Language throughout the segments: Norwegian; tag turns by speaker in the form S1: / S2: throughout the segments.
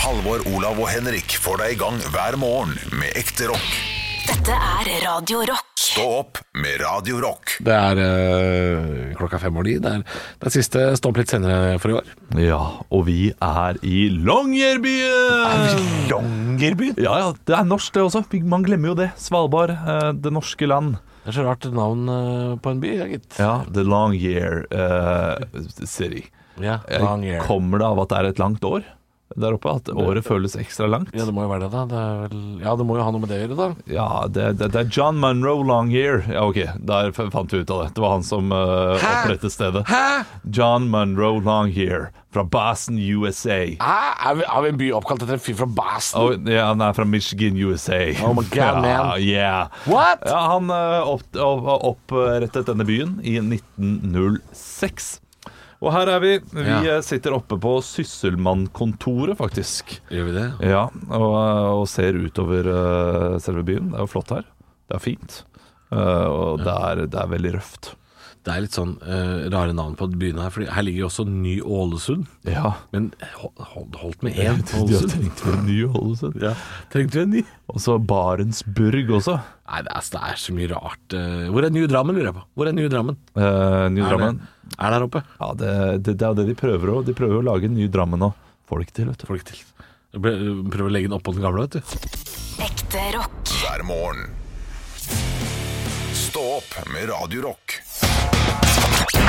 S1: Halvor, Olav og Henrik får deg i gang hver morgen med ekte rock.
S2: Dette er Radio Rock.
S1: Stå opp med Radio Rock.
S3: Det er øh, klokka fem over ni. Det er den siste Stå opp litt senere for i år.
S4: Ja, og vi er i Longyearbyen!
S5: Longyearbyen?
S4: Ja, ja, det er norsk det også. Man glemmer jo det. Svalbard, eh, det norske land.
S3: Det er så rart navn øh, på en by, ja, gitt.
S4: Ja, The Long Year eh, City.
S3: Ja,
S4: Jeg Kommer det av at det er et langt år der oppe? At året føles ekstra langt?
S3: Ja, det må jo være det, da. Det er vel... Ja, det må jo ha noe med det å gjøre, da.
S4: Ja, det, det, det er John Monroe Longyear. Ja, ok, der f- fant vi ut av det. Det var han som eh, opprettet stedet. John Monroe Longyear fra Boston, USA.
S3: Hæ? Er vi, har vi en by oppkalt etter en fyr fra Basten?
S4: Oh, ja, han er fra Michigan, USA.
S3: Oh my God, man.
S4: Ja, yeah.
S3: What?
S4: Ja, han eh, opp- opp- opprettet denne byen i 1906. Og her er vi. Vi
S3: Ja.
S4: eh, sitter oppe på Sysselmannkontoret, faktisk.
S3: Gjør vi det?
S4: Ja, og, og ser utover eh, selve byen. Det er jo flott her. Det er fint. Eh, og det, er, det er veldig røft.
S3: Det er litt sånn øh, rare navn på byene her, for her ligger jo også Ny-Ålesund.
S4: Ja.
S3: Men hol- hold- holdt med én
S4: De har
S3: Ålesund.
S4: trengt en ny Ålesund.
S3: Ja. Trengte vi en ny?
S4: Og så Barentsburg også.
S3: Nei, det er, det er så mye rart. øh. Hvor er New Drammen, lurer jeg på? Hvor er New Drammen?
S4: Uh, New Drammen.
S3: Er, det, er der oppe?
S4: Ja, det, det, det er jo det de prøver òg. De prøver å lage en ny Drammen nå. Folk til, vet du.
S3: Folk til. Prøv eh, å legge den oppå den gamle, vet du.
S2: Ekte rock.
S1: Hver morgen. Stå opp med Radio Rock.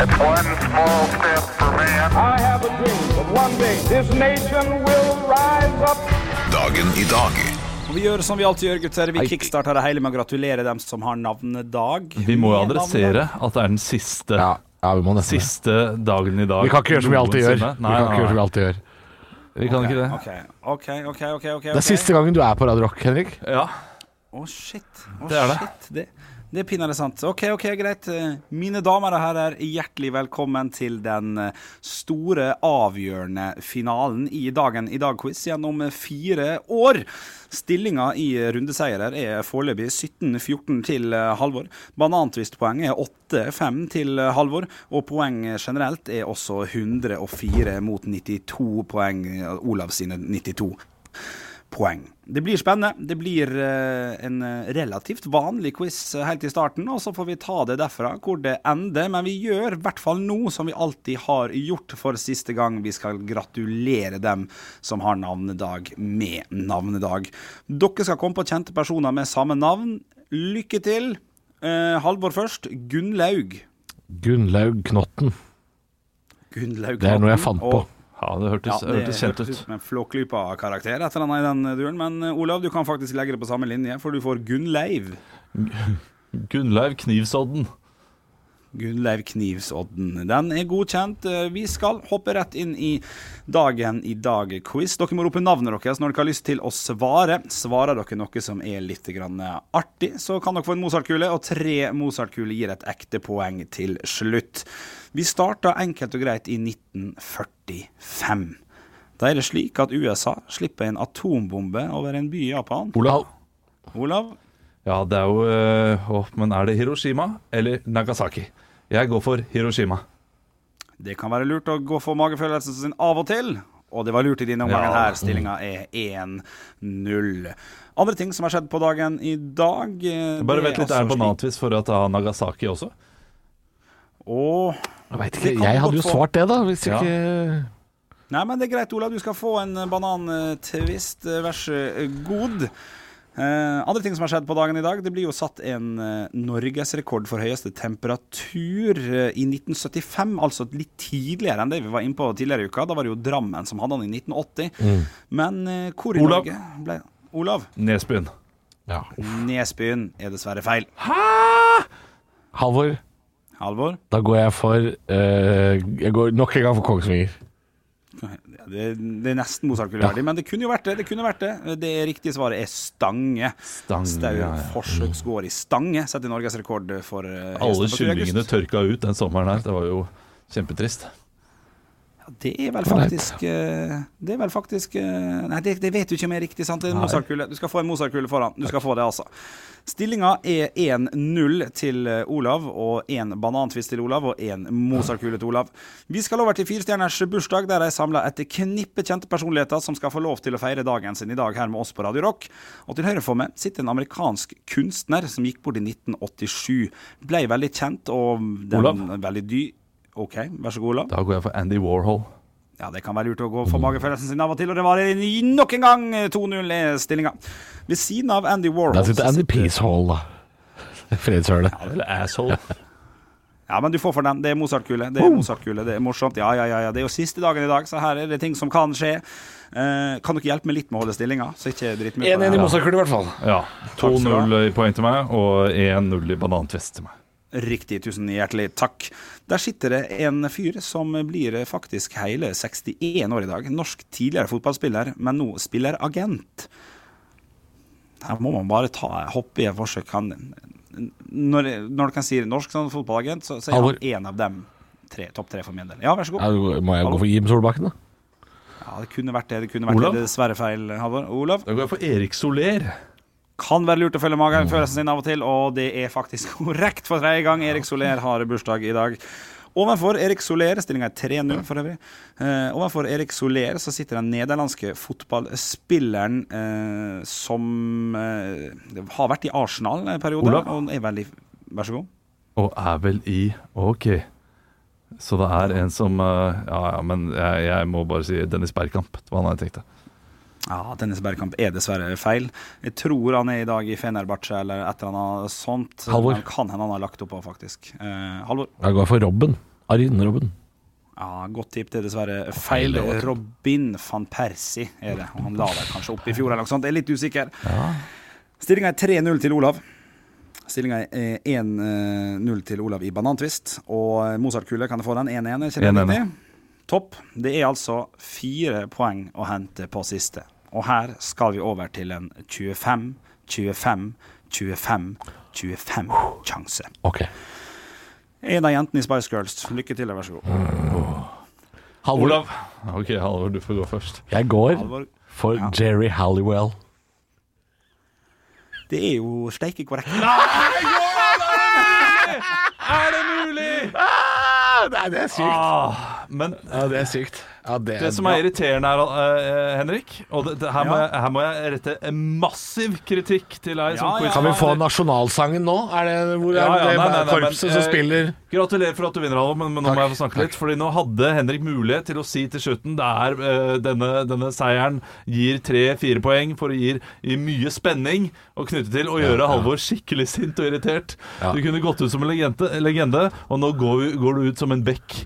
S6: One small step for man.
S7: I have a dream that one day this nation will rise up.
S1: Dagen i dag.
S8: Og vi gjør som vi alltid gjør, gutter. Vi kickstarter det hele med å gratulere dem som har navnedag.
S4: Vi må jo
S8: Med
S4: adressere at det er den siste,
S3: Ja, ja vi må nesten det.
S4: siste dagen i dag.
S3: Vi kan ikke gjøre som vi alltid gjør.
S4: noensinne.
S3: vi
S4: Nei,
S3: kan ikke
S4: nei,
S3: gjøre som vi
S4: nei.
S3: alltid gjør.
S4: Vi kan ikke det.
S8: navnedag. OK, OK, OK. ok, ok
S3: Det er siste gangen du er på Radio Rock, Henrik.
S4: Ja.
S8: Å, shit. Å,
S4: Det er det.
S8: shit. Det, det er pinadø sant. OK, ok, greit. Eh, Mine damer og herrer, hjertelig velkommen til den eh, store, avgjørende finalen i Dagen i dag-quiz gjennom eh, fire år. Stillinga i eh, rundeseirer er foreløpig 17-14 til eh, Halvor. Banantvistpoeng er 8-5 til eh, Halvor, og poeng generelt er også 104 mot 92 poeng, eh, Olav sine 92 poeng. Det blir spennende. Det blir eh, en eh, relativt vanlig quiz eh, helt i starten, og så får vi ta det derfra hvor det ender. Men vi gjør i hvert fall nå som vi alltid har gjort for siste gang. Vi skal gratulere dem som har navnedag med navnedag. Dere skal komme på kjente personer med samme navn. Lykke til. Eh, Halvor først. Gunnlaug.
S3: Gunnlaug Knotten.
S8: Gunnlaug
S3: Det er noe jeg
S8: Knotten
S3: fant på.
S8: og-
S4: ja, det hørtes, hørtes kjent ut.
S8: med en Flåklypa-karakter et eller annet i den duren. Men eh, Olav, du kan faktisk legge det på samme linje, for du får Gunnleiv.
S4: Gunnleiv Knivsodden.
S8: Gunnleiv Knivsodden. Den er godkjent. Eh, Vi skal hoppe rett inn i dagen i dag-quiz. Dere må rope navnet deres når dere har lyst til å svare. Svarer dere noe som er litt grann eh, artig, så kan dere få en Mozart-kule, og tre Mozart-kuler gir et ekte poeng til slutt. Vi starta enkelt og greit i 1945. Da er det slik at USA slipper en atombombe over en by i Japan.
S3: Olav.
S8: Olav?
S4: Ja, det er jo øh, åh, Men er det Hiroshima eller Nagasaki? Jeg går for Hiroshima.
S8: Det kan være lurt å gå for magefølelsen sin av og til. Og det var lurt i denne omgangen her. Stillinga er 1-0. Andre ting som har skjedd på dagen i dag eh,
S4: Bare
S8: det
S4: vent litt, er det
S8: altså slik-
S4: banantvis for at jeg har Nagasaki også?
S8: Åh.
S3: Jeg veit ikke.
S8: Vi kan
S3: Jeg hadde
S8: godt
S3: jo
S8: få-
S3: svart det, da. Hvis
S4: Ja.
S3: ikke
S8: Nei, men det er greit, Olav. Du skal få en eh, banantvist. eh, Vær så god. Eh, andre ting som har skjedd på dagen i dag, det blir jo satt en eh, norgesrekord for høyeste temperatur eh, i 1975. Altså litt tidligere enn det vi var inne på tidligere i uka. Da var det jo Drammen som hadde den i 1980. Men eh, hvor i
S4: Olav.
S8: Norge ble Olav.
S4: Nesbyen.
S3: ja.
S8: Nesbyen er dessverre feil.
S3: Halvor,
S8: Halvor?
S3: da går jeg for eh, Jeg går nok en gang for Kongsvinger.
S8: Ja, det, det er nesten Mozart-kuleverdig, men det kunne jo vært det. Det kunne vært det Det riktige svaret er Stange.
S4: Stange,
S8: Stau
S4: ja, ja.
S8: forsøksgård i Stange setter norgesrekord for
S4: Alle
S8: eh, høyeste temperatur i august.
S4: kyllingene tørka ut den sommeren her. Det var jo kjempetrist.
S8: Ja, Det er vel faktisk eh, Det er vel faktisk eh, Nei, det, det vet du ikke om er riktig, sant? Det er en Mozart-kule. Du skal få en Mozart-kule foran. Du skal få det, altså. Stillinga er 1-0 til eh, Olav, og én banantvist til Olav og én Mozart-kule til Olav. Vi skal over til Firestjerners bursdag, der de samler et knippe kjente personligheter som skal få lov til å feire dagen sin i dag her med oss på Radio Rock. Og til høyre for meg sitter en amerikansk kunstner som gikk bort i 1987. Blei veldig kjent, og den
S4: Olav?
S8: veldig dy... OK, vær så god, Olav.
S4: Da går jeg for Andy Warhol.
S8: Ja, det kan være lurt å gå for magefølelsen sin av og til, og det var det i- nok en gang 2-0-stillinga. Ved siden av Andy Warhol
S3: Der sitter
S8: så
S3: Andy Peacehall, da. Fredshølet.
S4: Eller asshole.
S8: Ja, men du får for den. Det er Mozart-kule. Det er Mozart-kule. Det er morsomt. Ja, ja, ja, ja. Det er jo siste dagen i dag, så her er det ting som kan skje. Eh, kan dere hjelpe meg litt med å holde stillinga? Så ikke jeg driter meg ut på
S3: 1-1 i
S8: det.
S3: Mozart-kule, i hvert fall.
S4: Ja.
S8: skal du ha.
S4: 2-0 i poeng til meg, og 1-0 i banantvest til meg.
S8: Riktig. Tusen hjertelig takk. Der sitter det en fyr som blir faktisk hele 61 år i dag. Norsk tidligere fotballspiller, men nå spiller agent. Her må man bare ta hoppe i et forsøk. Han, når, når du kan si norsk sånn fotballagent, så, så er
S3: Halvor.
S8: han en av dem. Tre, topp tre for min del. Ja, vær så god.
S3: Ja, må jeg gå for Jim Solbakken, da?
S8: Ja, det kunne vært det. Det kunne vært
S4: Olav?
S8: det. Dessverre feil, Halvor. Olav?
S4: Da går jeg for Erik Soler.
S8: Kan være lurt å følge magen følelsen sin av og til, og det er faktisk korrekt for tredje gang. Erik Soler har bursdag i dag. Ovenfor Erik Soler, stillinga er 3-0 for øvrig, eh, ovenfor Erik Soler så sitter den nederlandske fotballspilleren eh, som eh, har vært i Arsenal en periode.
S4: Olav?
S8: Og er veldig Vær så god.
S4: Og er vel i OK. Så det er en som eh, Ja, ja, men jeg, jeg må bare si Dennis Bergkamp. Det var han jeg tenkte.
S8: Ja, Dennis Bergkamp er dessverre feil. Jeg tror han er i dag i Fenerbahçe eller et eller annet sånt.
S3: Halvor.
S8: Men Kan hende han har lagt opp òg, faktisk. Eh, Halvor.
S3: Jeg går for Robben. Arin-Robben.
S8: Ja, Godt tipp. Det er dessverre feil. Robin van Persie er det. Og han la deg kanskje opp i fjor eller noe sånt. Jeg er litt usikker. Stillinga er 3-0 til Olav. Stillinga er 1-0 til Olav i banantvist. Og Mozart-kule kan jeg få den 1-1. er ikke det
S4: 1-1.
S8: riktig? Topp. Det er altså fire poeng å hente på siste. Og her skal vi over til en 25, 25, 25, 25-sjanse.
S3: Ok.
S8: En av jentene i Spice Girls. Lykke til, og vær så god.
S3: Halvor.
S4: Olav. OK, Halvor, du får gå først.
S3: Jeg går
S8: Halvor.
S3: for Jerry Halliwell.
S8: Det er jo steike korrekt.
S4: Er det mulig?!
S3: Nei, det er
S4: Ah, men
S3: Ja, det er sykt. Ja, det,
S4: Det som er irriterende her, eh, Henrik Og det, det, her, må
S8: Ja.
S4: jeg, her må jeg rette en massiv kritikk til deg som
S8: Ja, ja.
S4: quiz-
S3: Kan vi få nasjonalsangen nå? Er det, hvor
S4: Ja, ja,
S3: er det
S4: nei, nei, nei,
S3: korpset som
S4: men, eh,
S3: spiller
S4: Gratulerer for at du vinner, Halvor, men, men nå
S3: Takk,
S4: må jeg få snakke litt. Fordi nå hadde Henrik mulighet til å si til slutten Det er eh, denne, denne seieren gir tre-fire poeng for å gi gi mye spenning og knytte til å gjøre Halvor skikkelig sint og irritert.
S3: Ja.
S4: Du kunne gått ut som en legende, legende og nå går, vi, går du ut som en bekk.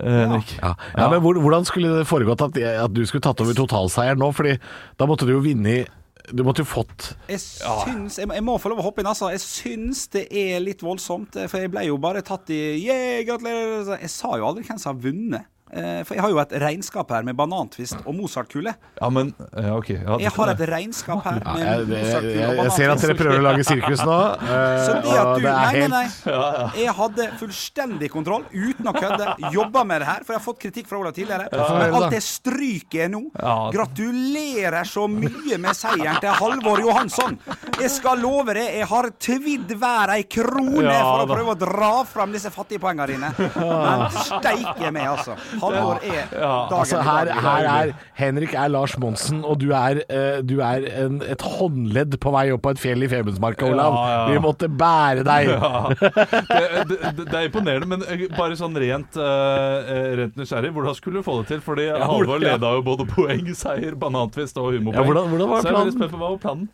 S4: Eh, Henrik.
S3: ja. ja, men hvor- Hvordan skulle det foregått at, jeg- at du skulle tatt over totalseieren nå? Fordi da måtte du jo vinne i Du måtte jo fått
S8: Jeg syns jeg, må- jeg må få lov å hoppe inn, altså. Jeg syns det er litt voldsomt, eh, for jeg ble jo bare tatt i Yeah, gratulerer! Så Jeg sa jo aldri hvem som har vunnet. Eh, For jeg har jo et regnskap her med banantvist og Mozart-kule.
S4: Ja, men ja, OK. Ja,
S8: Jeg har et regnskap her
S3: ja, jeg,
S8: med
S3: jeg,
S8: Mozart-kule
S3: jeg,
S8: og
S3: jeg ser at
S8: banantvist.
S3: dere prøver å lage sirkus nå. eh,
S8: Så det at
S3: og
S8: du
S3: det er
S8: Nei, nei,
S3: helt-
S8: nei. Jeg hadde fullstendig kontroll, uten å kødde. Jobba med det her, for jeg har fått kritikk fra Olav tidligere.
S3: høre
S8: Men
S3: da.
S8: alt det stryket jeg nå
S4: Ja.
S8: Gratulerer så mye med seieren til Halvor Johansson! Jeg skal love deg, jeg har tvidd hver ei krone
S4: Ja,
S8: for å
S4: da.
S8: prøve å dra fram disse fattige poengene dine. Men steike meg, altså. Halvor er dagen
S3: Altså,
S8: i
S3: her,
S8: dag.
S3: her er Henrik er Lars Monsen, og du er, eh, du er en, et håndledd på vei opp på et fjell i Femundsmarka, Olav.
S4: Ja, ja.
S3: Vi måtte bære deg.
S4: det, det, det er imponerende, men eh, bare sånn rent, eh, rent nysgjerrig. Hvordan skulle du få det til? Fordi Halvor
S3: ja.
S4: leda jo både poeng, seier, banantvist og humorpoeng.
S3: Ja, hvordan- hvordan var
S4: Så jeg er veldig
S3: planen?
S4: spent på hva var planen.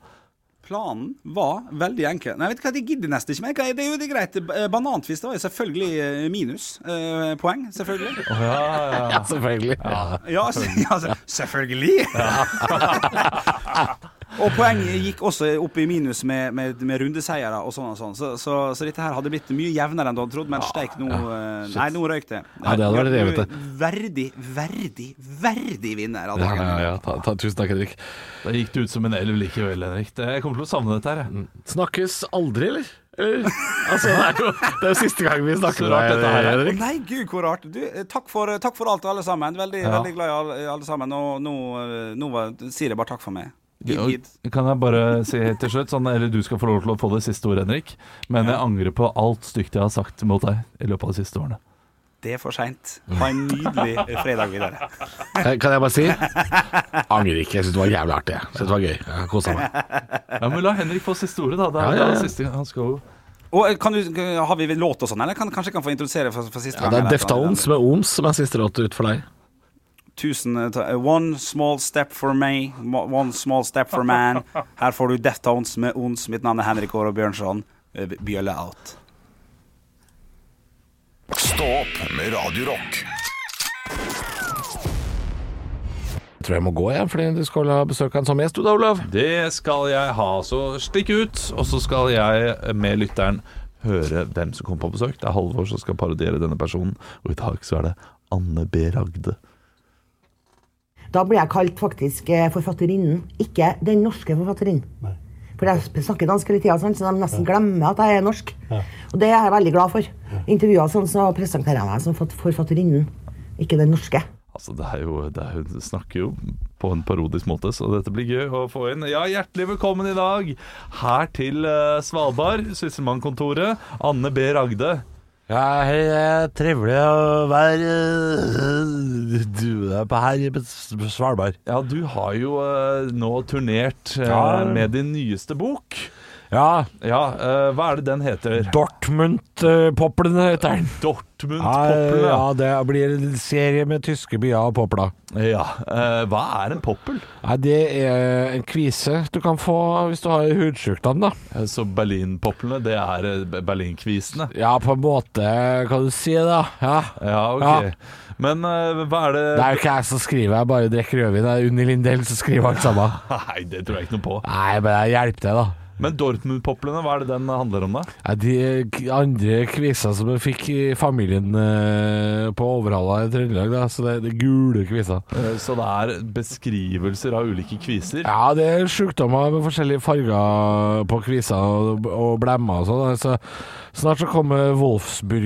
S8: Planen var veldig enkel. Nei, vet du hva, de gidder nesten ikke mer. Hva er- Det er jo det er greit. B- eh, Banantvist det var jo selvfølgelig eh, minus. eh, poeng, selvfølgelig.
S4: Ja, ja, ja.
S3: Ja, selvfølgelig. Ja.
S8: Ja, s- ja, s- selvfølgelig! og poenget gikk også opp i minus med, med, med rundeseiere og sånn og sånn. Så, så, så dette her hadde blitt mye jevnere enn du hadde trodd, men steik, nå eh, Nei, nå røyk det.
S3: Ah, Ja, det hadde vært
S8: Nei,
S3: revet, det.
S8: Verdig, verdig, verdig vinner av
S3: Ja,
S8: dagen.
S3: ja, ja. Ta, ta, tusen takk, Henrik.
S4: Da gikk du ut som en elv likevel, Henrik. Det- Jeg kommer til å savne dette her. jeg.
S3: Snakkes aldri, eller? eller? Altså, det, er jo, det er jo siste gang vi snakker
S4: Så
S3: med
S4: rart
S3: deg,
S4: dette her er.
S8: Å
S3: Henrik.
S8: nei, gud, hvor rart. Du, eh, takk, for, takk for alt, alle sammen. Veldig, veldig glad i alle, alle sammen. Og nå, eh, nå var- sier jeg bare takk for meg. Gidd, gidd.
S4: Kan jeg bare si helt til slutt, sånn, eller du skal få lov til å få det siste ordet, Henrik, men jeg angrer på alt stygt jeg har sagt mot deg i løpet av de siste årene.
S8: Det er for seint. Ha en nydelig fredag videre.
S9: Eh, Kan jeg bare si? Angrer ikke. Jeg syns det var jævlig artig. Jeg synes det var gøy. Jeg kosa meg.
S4: Ja, men La Henrik få siste ordet, da. Det
S9: Ja,
S4: er,
S9: ja, ja.
S4: Det er siste gang han skal jo
S8: Og eh, kan du, Har vi låt og sånn, eller? Kan, kanskje jeg kan få introdusere for, for siste
S9: Ja, det er
S8: gang? eller et eller annet?
S9: Deftones med Oms som er siste låt ut for deg.
S8: Tusen eh, ta- One small step for me, mo- one small step for man. Her får du Deftones med Ons. Mitt navn er Henrik Aare Bjørnson. Eh, Bjølle out.
S1: Stå opp med Radio Rock.
S9: Jeg tror jeg må gå, jeg, fordi du skal ha besøk av en sommergjest, du da, Olav.
S4: Det skal jeg ha, så stikk ut. Og så skal jeg med lytteren høre hvem som kommer på besøk. Det er Halvor som skal parodiere denne personen, og i dag så er det Anne B. Ragde.
S5: Da ble jeg kalt faktisk eh, forfatterinnen, ikke den norske forfatterinnen. For jeg snakker dansk hele tida, så de nesten glemmer at jeg er norsk. Og det er jeg veldig glad for. I intervjuer sånn, så presenterer jeg meg som fat- forfatterinnen, ikke den norske.
S4: Altså, det er jo, det er, Hun snakker jo på en parodisk måte, så dette blir gøy å få inn. Ja, hjertelig velkommen i dag her til eh, Svalbard, Sysselmannkontoret. Anne B. Ragde.
S3: Ja, hei, det er trivelig å være eh, du er på her i Svalbard.
S4: Ja, du har jo eh, nå turnert eh,
S3: Ja.
S4: med din nyeste bok.
S3: Ja,
S4: Ja, eh, hva er det den heter?
S3: Dortmund-poplene heter den.
S4: Dortmund-poplene.
S3: Ja, det blir en serie med tyske byer og popler.
S4: Ja, eh, hva er en poppel?
S3: Nei, det er en kvise du kan få hvis du har hudsjukdom, da.
S4: Eh, Så Berlinpoplene, det er eh, Be- Berlinkvisene?
S3: Ja, på en måte kan du si det, da. Ja.
S4: Ja, ok.
S3: Ja.
S4: Men eh, hva er det
S3: Det er jo ikke jeg som skriver, jeg bare drikker rødvin. Det er Unni Lindell som skriver alt sammen.
S4: Nei, det tror jeg ikke noe på.
S3: Nei, men jeg hjelper til, da.
S4: Men Dortmund-poplene, hva er det den handler om, da?
S3: Ja, de k- andre kvisene som jeg fikk i familien eh, på Overhalla i Trøndelag, da, så det det er gule kviser.
S4: Eh, Så det er beskrivelser av ulike kviser?
S3: Ja, det er sjukdommer med forskjellige farger på kviser og, og blemmer og sånn. da, Så snart så kommer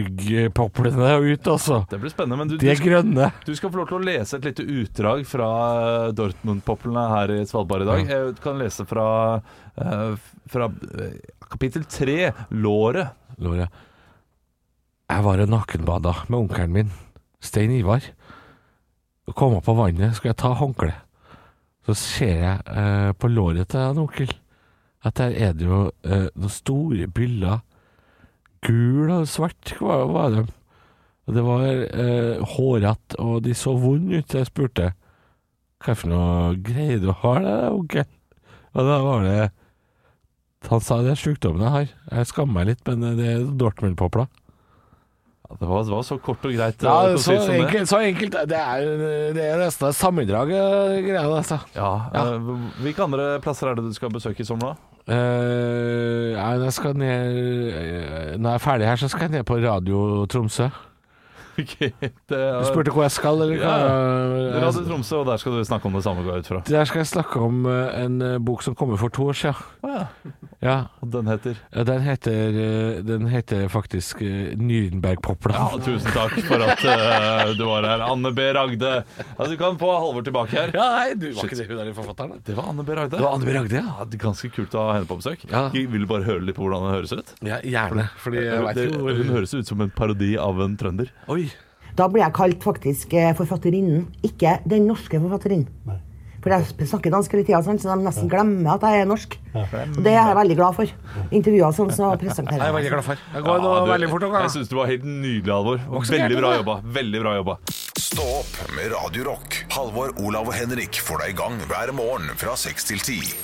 S3: Wolfsburg-poplene ut, altså.
S4: Det blir spennende, men du,
S3: De er
S4: du,
S3: grønne.
S4: du skal få lov til å lese et lite utdrag fra eh, Dortmund-poplene her i Svalbard i dag. Jeg kan lese fra, eh, fra eh, kapittel tre, låret.
S3: Lore. Jeg var og nakenbada med onkelen min, Stein Ivar. Og kom opp på vannet, skulle jeg ta håndkle. Så ser jeg eh, på låret til han onkel at der er det jo eh, noen store byller. Gul og svart var, var de. Og det var eh, hårete, og de så vonde ut. Jeg spurte hva for noe greier du har der, onkel? Og da var det han sa det er sjukdommen jeg har. Jeg skammer meg litt, men det er Dortmund-popla.
S4: Ja, det, var, det var så kort og greit.
S3: Ja,
S4: eh,
S3: så
S4: konsist som det.
S3: enkelt, så enkelt. Det er, det er nesten et sammendrag, eh, greia, altså.
S4: Ja, eh, Hvilke andre plasser er det du skal besøke i sommer, da?
S3: Eh, ja, jeg skal ned eh, Når jeg er ferdig her, så skal jeg ned på Radio Tromsø.
S4: Ok, det
S3: Du
S4: er-
S3: spurte hvor jeg skal, eller hva?
S4: Radio
S3: Jeg-
S4: Tromsø, og der skal du snakke om det samme, går jeg ut fra.
S3: Der skal jeg snakke om eh, en eh, bok som kommer for to år siden. Ja,
S4: Og den heter
S3: den heter, eh, den heter faktisk eh, Nürnbergpopla.
S4: Ja, tusen takk for at eh, du var her, Anne B. Ragde. Ja, du kan få Halvor tilbake her.
S3: Ja, nei, du var ikke det hun er i forfatteren? da?
S4: Det var Anne B. Ragde.
S3: Det var Anne B. Ragde, ja.
S4: Ja, det er ganske kult å ha henne på besøk.
S3: Ja.
S4: Vil du bare høre litt på hvordan hun høres ut?
S3: Ja, gjerne. Fordi jeg vet
S4: Det,
S3: jo
S4: hun høres ut som en parodi av en trønder.
S3: Oi.
S5: Da ble jeg kalt faktisk eh, forfatterinnen, ikke den norske forfatterinnen. For jeg snakker dansk hele tida, så de nesten glemmer at jeg er norsk. Og det er jeg veldig glad for. I intervjuer sånn, så presenterer jeg meg.
S3: glad for. Jeg
S4: Ja, du- jeg syns du var helt nydelig, Halvor. Veldig bra jobba. Veldig bra jobba.
S1: Stå opp med Radio Rock. Halvor, Olav og Henrik får deg i gang hver morgen fra 6 til 10.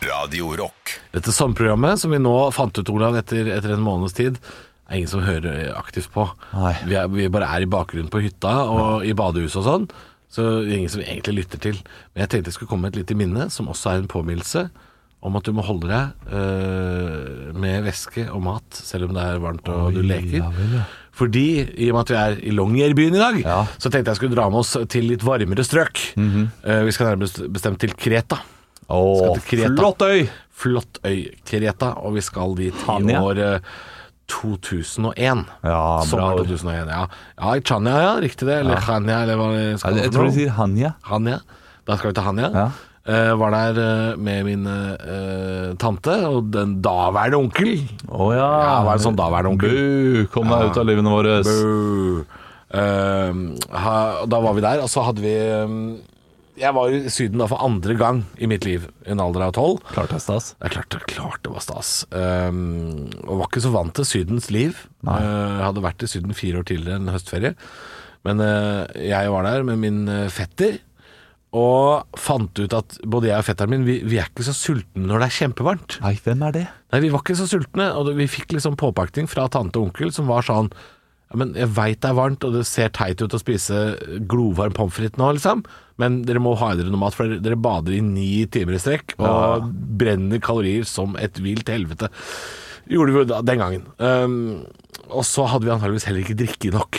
S1: Radio Rock.
S3: Dette sommerprogrammet som vi nå fant ut, Olav, etter, etter en måneds tid, er ingen som hører aktivt på.
S4: Nei.
S3: Vi, er, vi bare er i bakgrunnen på hytta og i badehuset og sånn, så det er ingen som egentlig lytter til. Men jeg tenkte jeg skulle komme med et lite minne, som også er en påminnelse, om at du må holde deg øh, med væske og mat, selv om det er varmt og du leker.
S4: ja vel, ja.
S3: Fordi, i og med at vi er i Longyearbyen i dag,
S4: Ja. Mhm.
S3: så tenkte jeg skulle dra med oss til litt varmere strøk. Eh, vi skal nærmest bestemt til Kreta.
S4: Å,
S3: Skal til Kreta.
S4: flott øy!
S3: Flott øy Kreta, og vi skal dit i
S4: Tanja.
S3: år eh, 2001.
S4: Ja,
S3: Sommer
S4: bra.
S3: 2001, ja. ja i Chania, ja, riktig det. Eller Chania, eller hva det skal
S4: Jeg
S3: for
S4: tror
S3: noe.
S4: de sier Hanja.
S3: Hania. Da skal vi til han, ja.
S4: Ja.
S3: Eh, var der eh, med min eh, tante og den daværende onkel.
S4: Å ja.
S3: Ja, var det sånn daværende onkel? Ah.
S4: Bu, kom deg ut av livene våre.
S3: Boo. Eh, ha, og da var vi der, og så hadde vi eh, Jeg var i Syden da for andre gang i mitt liv, i en alder av tolv.
S4: Klart det er stas.
S3: Det er klart, det er klart det var stas. Um, og var ikke så vant til Sydens liv. Uh, hadde vært i Syden fire år tidligere en høstferie. Men uh, jeg var der med min uh, fetter, og fant ut at både jeg og fetteren min, vi, vi er ikke så sultne når det er kjempevarmt.
S4: Nei, hvem er det?
S3: Nei, vi var ikke så sultne, og det- vi fikk liksom påpakning fra tante og onkel som var sånn ja, men jeg veit det er varmt, og det ser teit ut å spise glovarm pommes frites nå, liksom, men dere må ha i dere noe mat, for dere- dere bader i ni timer i strekk og brenner kalorier som et vilt helvete. Gjorde vi jo da, den gangen. Um, og så hadde vi antageligvis heller ikke drikke nok.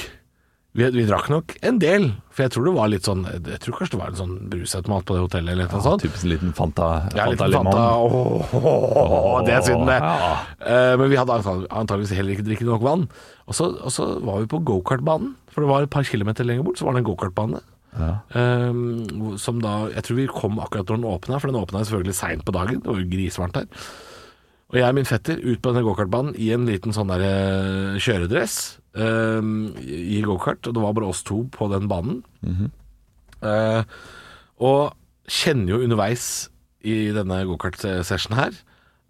S3: Vi, vi drakk nok en del, for jeg tror det var litt sånn Jeg tror kanskje det var en sånn brusautomat på det hotellet eller noe sånt.
S4: Sånn. Typisk liten Fanta,
S3: Sånn. Ja, litt
S4: Fanta Limon.
S3: Fanta. Åh, det er synd, det.
S4: Ja.
S3: Eh, men vi hadde antag- antageligvis heller ikke drikket nok vann. Og så, og så var vi på gokartbanen, for det var et par kilometer lenger bort, så var det en gokartbane. Eh, hvor- som da Jeg tror vi kom akkurat når den åpna, for den åpna selvfølgelig seint på dagen. Det var jo grisvarmt der. Og jeg og min fetter ut på denne gokartbanen i en liten sånn der eh, kjøredress eh, i gokart, og det var bare oss to på den banen. Eh, og kjenner jo underveis i denne gokart-session her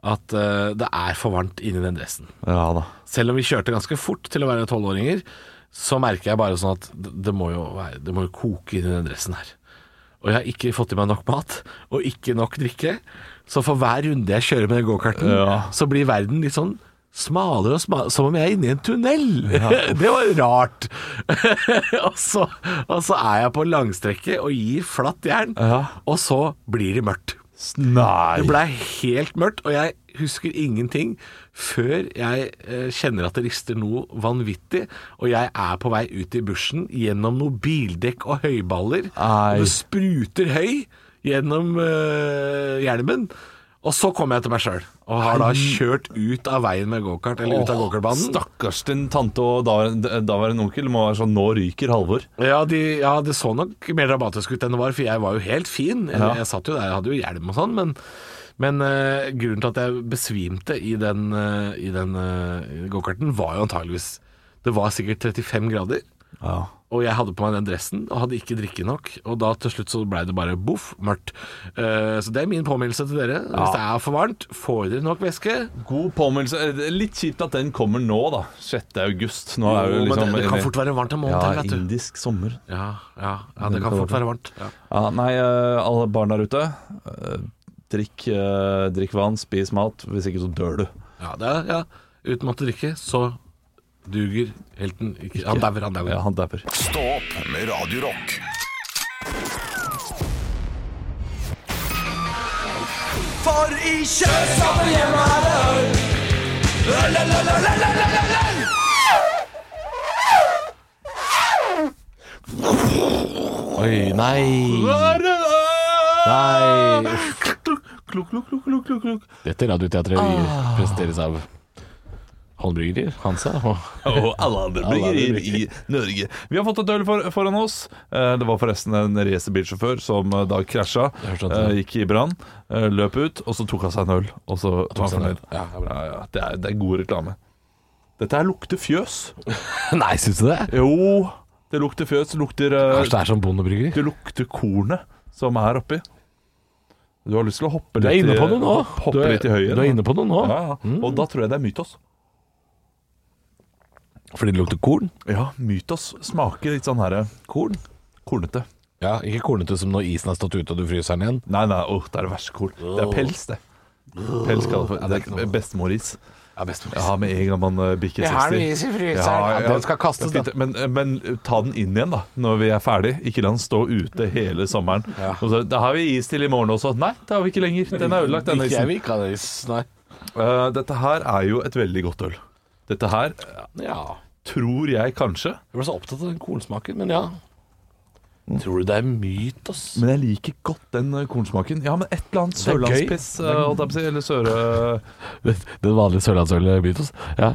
S3: at eh, det er for varmt inni den dressen.
S4: ja da.
S3: Selv om vi kjørte ganske fort til å være tolvåringer, så merker jeg bare sånn at det det må jo, være, det må jo koke inni den dressen her. Og jeg har ikke fått i meg nok mat, og ikke nok drikke. Så for hver runde jeg kjører med den gokarten,
S4: Ja.
S3: så blir verden litt sånn smalere og smalere, som om jeg er inne i en tunnel. det var rart. og, så, og så er jeg på langstrekket og gir flatt jern,
S4: Ja.
S3: og så blir det mørkt.
S4: S- Nei.
S3: Det blei helt mørkt, og jeg husker ingenting før jeg eh, kjenner at det rister noe vanvittig, og jeg er på vei ut i bushen gjennom noen bildekk og høyballer,
S4: Ei.
S3: og det spruter høy gjennom eh, hjelmen. Og så kommer jeg til meg sjøl, og har da kjørt ut av veien med gokart, eller ut av gokartbanen.
S4: Stakkars din tante og daværende da onkel må være sånn Nå ryker Halvor.
S3: Ja, de, ja, det så nok mer dramatisk ut enn det var, for jeg var jo helt fin. Jeg,
S4: Ja.
S3: jeg satt jo der, jeg hadde jo hjelm og sånn, men, men eh, grunnen til at jeg besvimte i den, eh, i den eh, gokarten, var jo antageligvis Det var sikkert 35 grader,
S4: Ja.
S3: og jeg hadde på meg den dressen og hadde ikke drikke nok. Og da til slutt så blei det bare boff, mørkt. Eh, så det er min påminnelse til dere. Hvis det er for varmt, får dere nok væske.
S4: God påminnelse. Eh, det er Litt kjipt at den kommer nå, da. 6. august. Nå er jo
S3: Jo,
S4: liksom
S3: men det, det kan fort være varmt en måned
S4: ja,
S3: til, vet du.
S4: indisk sommer.
S3: Ja, ja, ja, det kan fort være varmt. Ja.
S4: Ja, nei, eh, alle barn der ute. eh, Drikk, eh, drikk vann, spis mat. Hvis ikke så dør du.
S3: Ja, det er, ja. Uten mat og drikke, så duger helten ikke. Han dauer, han dauer.
S4: Ja, han dauer.
S1: Stå opp med Radio Rock.
S3: Oi, nei. Nei.
S4: Klok, klok, klok, klok, klok, klok.
S3: Dette Radioteatret vi presenteres av Holmbrygger, Hansa og
S4: Og alle andre bryggerier i Norge. Vi har fått et øl for, foran oss. Eh, Det var forresten en racerbilsjåfør som eh, da krasja,
S3: Jeg skjønte det.
S4: eh, gikk i brann, eh, løp ut, og så tok han seg en øl. Og så var han
S3: seg en øl.
S4: fornøyd. Ja, ja, det, er, det er god reklame. Dette her lukter fjøs.
S3: Nei, syns du det?
S4: Jo, det lukter fjøs. Det lukter, eh,
S3: Kanskje det er som bondebryggeri?
S4: det lukter kornet som er oppi. Du har lyst til å hoppe
S3: Du er eh,
S4: litt,
S3: inne
S4: i-
S3: på noe nå.
S4: hoppe-
S3: Du
S4: Hoppe
S3: er,
S4: litt i høyre.
S3: du er inne på noe nå. Mm.
S4: ja, ja. Og da tror jeg det er mytos.
S3: Fordi det lukter korn.
S4: Ja, mytos smaker litt sånn her Korn? Kornete.
S3: Ja, Ikke kornete som når isen har stått ute og du fryser den igjen.
S4: Nei, nei, åh, det er det verste korn. Det er pels, det. Pels kaller for det er bestemoris.
S3: Ja, best
S4: Ja, med en gang man eh, bikker 60.
S3: Jeg har noe is i fryseren. Ja, den skal kastes,
S4: det er fint. Men, men ta den inn igjen, da, når vi er ferdig. Ikke la den stå ute hele sommeren. Og så, da har vi is til i morgen også. Nei, det har vi ikke lenger. Den er ødelagt, denne isen.
S3: ikke ha is, nei.
S4: Eh, dette her er jo et veldig godt øl. Dette her eh,
S3: Ja.
S4: tror jeg kanskje
S3: Jeg ble så opptatt av den kornsmaken, men ja. Tror du det er myt, ass?
S4: Men jeg liker godt den eh, kornsmaken. Ja, men et eller annet
S3: er gøy.
S4: sørlandspiss, eh, holdt jeg på å si. Eller søre...
S3: Den vanlige sørlandsølet mytos? Ja.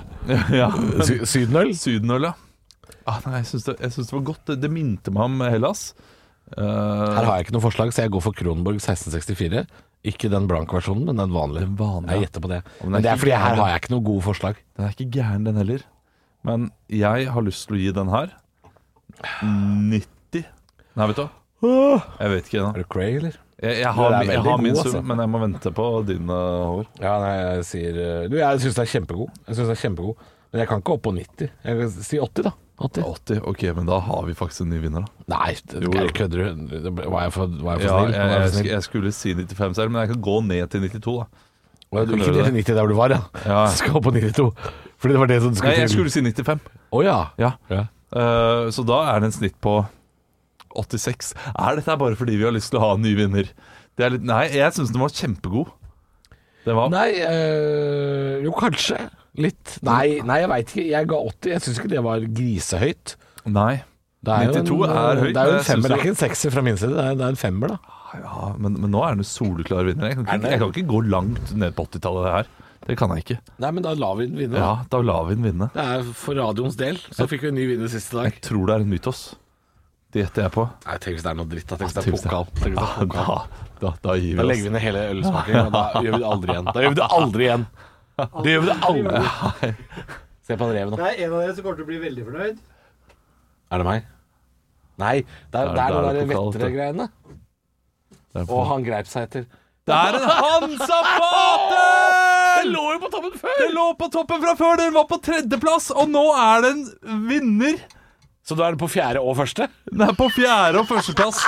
S4: ja.
S3: Sy- Sydenøl?
S4: Sydenøl, ja. Ah, nei, jeg syns det, jeg syns det var godt. Det, det minte meg om Hellas. Eh,
S3: Her har jeg ikke noe forslag, så jeg går for Kronborg 1664. Ikke den blanke versjonen, men den vanlige.
S4: Den vanlige.
S3: Jeg gjetter på det.
S4: men
S3: Men det
S4: ikke
S3: er fordi
S4: gæren,
S3: her har jeg ikke noe gode forslag.
S4: Den er ikke gæren, den heller. Men jeg har lyst til å gi den her 90 Nei, vet du hva? Jeg vet ikke ennå.
S3: Er Ah. du cray, eller?
S4: Jeg, jeg har,
S3: Den er
S4: min- jeg
S3: veldig
S4: har min
S3: god,
S4: sum,
S3: altså.
S4: men jeg må vente på din, eh, Håvard.
S3: Ja, nei, jeg sier eh, Du, jeg syns den er kjempegod. Jeg synes den er kjempegod. Men jeg kan ikke opp på 90. Jeg kan si 80, da. 80.
S4: 80. Ok, men da har vi faktisk en ny vinner, da.
S3: Nei, det-
S4: Jo,
S3: Geir,
S4: jo.
S3: kødder du? Det ble- Var jeg for, var jeg for
S4: Ja,
S3: snill?
S4: jeg,
S3: Var jeg
S4: jeg,
S3: for
S4: sk-
S3: snill?
S4: jeg skulle si 95 selv, men jeg kan gå ned til 92, da.
S3: Å, ja, Du
S4: kan
S3: ikke
S4: gjøre
S3: ned til 90 der hvor du var, ja?
S4: Ja.
S3: Så Skal opp på 92. Fordi det var det som
S4: Nei,
S3: skulle
S4: jeg
S3: til.
S4: skulle si 95.
S3: Å ja.
S4: Ja.
S3: ja.
S4: Eh, så da er det en snitt på 86. Er dette bare fordi vi har lyst til å ha en ny vinner? Det er litt, nei, jeg syns den var kjempegod. Den var
S3: Nei eh, Jo, kanskje. Litt. Nei, nei jeg veit ikke. Jeg ga 80. Jeg syns ikke det var grisehøyt.
S4: Nei.
S3: Det er jo
S4: 92 er
S3: Det er jo
S4: høyt, men jeg
S3: en femmer.
S4: synes
S3: Det
S4: jo-
S3: er ikke en sekser fra min side, det er, det er en femmer, da.
S4: Ja, men, men nå er den jo soleklar vinner. Jeg kan,
S3: Er den
S4: ikke,
S3: det?
S4: jeg kan ikke gå langt ned på 80-tallet her. Det kan jeg ikke.
S3: Nei, men da lar vi den vinne.
S4: Ja, da lar vi den vinne.
S3: Det er for radioens del. Så fikk vi en ny vinner siste dag.
S4: Jeg tror det er en mytos. Det gjetter jeg på.
S3: Nei, Tenk hvis det er noe dritt. da. Tenk hvis det er
S4: Tenk hvis det-
S3: pokal. Tenk hvis det
S4: Ja,
S3: er pokal.
S4: da, da, da gir
S3: Da
S4: vi
S3: legger
S4: oss.
S3: vi ned hele ølsmakingen, og da gjør vi det aldri igjen. Da gjør vi det aldri igjen. Det gjør vi det aldri. Se på han reven, da.
S7: Det er en av dere som kommer til å bli veldig fornøyd.
S3: Er det meg? Nei, det er,
S4: Der-
S3: det er
S4: der
S3: noe der
S4: er det pokal, vet du.
S3: vettere-greiene.
S4: Det er på-
S3: Og han greip seg etter.
S4: Det er en Hansa Patel!
S3: lå jo på toppen før!
S4: Den lå på toppen fra før, den var på tredjeplass, og nå er den vinner.
S3: Så da er det på fjerde og første?
S4: Den er på fjerde- og førsteplass.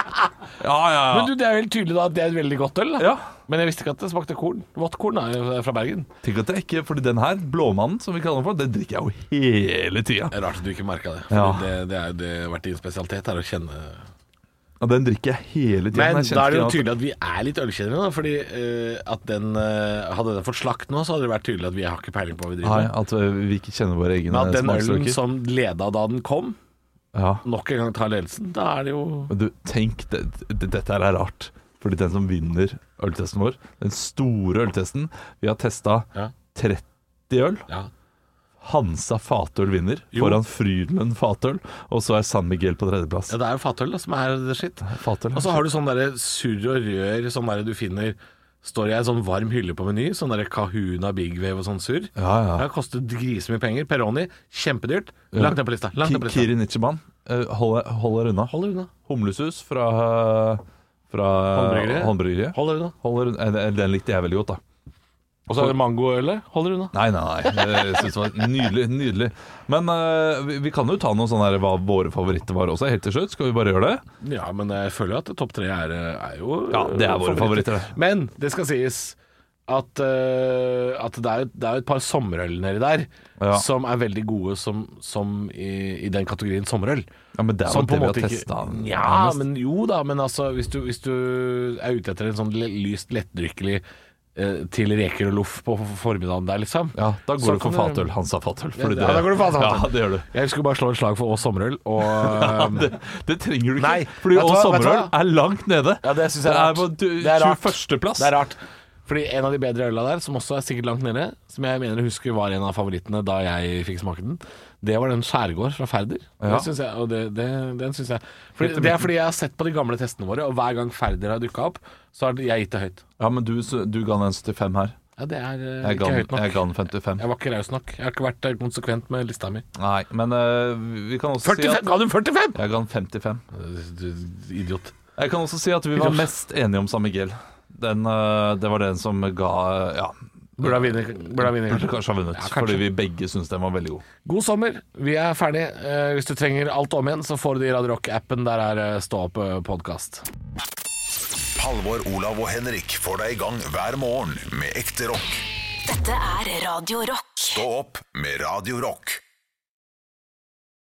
S4: Ja, ja,
S3: Men
S4: ja.
S3: du, Det er vel tydelig da at det er et veldig godt øl. da
S4: ja.
S3: Men jeg visste ikke at det smakte korn. Våttkorn er jo fra Bergen.
S4: Tenk at jeg ikke, fordi den her, blåmannen, som vi kaller den for, den drikker jeg jo hele tida.
S3: Det er Rart at du ikke merka det.
S4: Ja.
S3: det, det er jo det har vært din spesialitet, er å kjenne
S4: Og den drikker jeg hele tida.
S3: Men da er det jo tydelig at vi er litt ølkjennere, da. Fordi eh, at den eh, Hadde den fått slakt nå, så hadde det vært tydelig at vi har ikke peiling på hva vi
S4: Nei,
S3: driver med.
S4: at eh, vi ikke kjenner våre egne
S3: Men at den ølen
S4: smaksløker.
S3: som leda da den kom,
S4: Ja.
S3: nok en gang tar ledelsen, da er det jo
S4: Men du, tenk, det, det, dette her er rart. Fordi den som vinner øltesten vår, den store øltesten Vi har testa
S3: Ja.
S4: 30 øl.
S3: Ja.
S4: Hansa Fatøl vinner foran Frydenlund Fatøl, og så er San Miguel på tredjeplass.
S3: Ja, det er jo fatøl da, som er det skitt.
S4: Fatøl
S3: Og så har du sånn derre surr og rør, sånn derre du finner Står i en sånn varm hylle på Meny, sånn derre Kahuna Big Wave og sånn surr.
S4: Ja, ja.
S3: Det har kostet grisemye penger. Peroni, kjempedyrt. Langt ned på lista. Langt ned på
S4: Ki-
S3: lista.
S4: Kiri Nitschemann eh, holder, holder unna.
S3: Hold deg unna.
S4: Humlesus fra, fra
S3: Håndbryggeriet.
S4: Håndbryggeriet.
S3: Hold deg unna.
S4: Holder, eh, den- den likte jeg veldig godt, da.
S3: Og så er det mangoølet. Hold deg unna.
S4: Nei, nei, nei. Jeg synes det var nydelig. nydelig Men eh, vi, vi kan jo ta noe sånn her hva våre favoritter var også, helt til slutt. Skal vi bare gjøre det?
S3: Ja, men jeg føler jo at topp tre er, er jo
S4: Ja, det er våre favoritter, det.
S3: Men det skal sies at, eh, at det, er, jo- det er jo et par sommerøl nedi der
S4: Ja.
S3: som er veldig gode som, som i, i den kategorien sommerøl.
S4: Ja, men det er jo
S3: Som på en
S4: det vi har
S3: måte ikke
S4: testa.
S3: Ja, men jo da, men altså hvis du, hvis du er ute etter en sånn le- lyst lettdrikkelig eh, til reker og loff på formiddagen der, liksom.
S4: ja, da går
S3: så
S4: du for
S3: kan du-
S4: fatøl. Hansa fatøl.
S3: Ja, ja, da går du for Hansa Fatøl.
S4: Ja, det gjør du.
S3: Jeg skulle bare slå et slag for Å sommerøl, og ehm,
S4: Det, det trenger du ikke.
S3: Nei,
S4: fordi
S3: vet du
S4: Å
S3: hva-
S4: sommerøl
S3: vet du hva?
S4: er langt nede.
S3: Ja, det syns jeg er rart.
S4: på du-
S3: Det er rart.
S4: 21.-plass.
S3: Det er rart. Fordi en av de bedre øla der, som også er sikkert langt nede, som jeg mener å huske var en av favorittene da jeg fikk smake den, det var den Skjærgård fra Færder.
S4: Ja.
S3: Det synes jeg, og det, det, den synes jeg fordi, Det er fordi jeg har sett på de gamle testene våre, og hver gang Færder har dukka opp, så har jeg gitt det høyt.
S4: Ja, men du, du ga den 75 her.
S3: Ja, det er eh,
S4: Jeg
S3: ikke
S4: ga, den-
S3: høyt nok.
S4: jeg
S3: Jeg,
S4: ga den 55.
S3: var ikke raus nok. Jeg har ikke vært eh, konsekvent med lista mi.
S4: Nei, men eh, vi kan også
S3: 45!
S4: si at
S3: Ga du 45?!
S4: Jeg ga den 55.
S3: Du idiot.
S4: Jeg kan også si at vi var mest enige om San Miguel. Den, eh, det var den som ga eh, Ja.
S3: Burde ha vunnet. Burde ha vunnet,
S4: Burde
S3: kanskje.
S4: kanskje ha vunnet,
S3: Ja, kanskje.
S4: fordi vi begge syns den var veldig god.
S3: God sommer, vi er ferdig. Eh, hvis du trenger alt om igjen, så får du det i Radio Rock-appen. Der er eh, Stå opp-podkast.
S1: Halvor, Olav og Henrik får deg i gang hver morgen med ekte rock.
S2: Dette er Radio Rock.
S1: Stå opp med Radio Rock.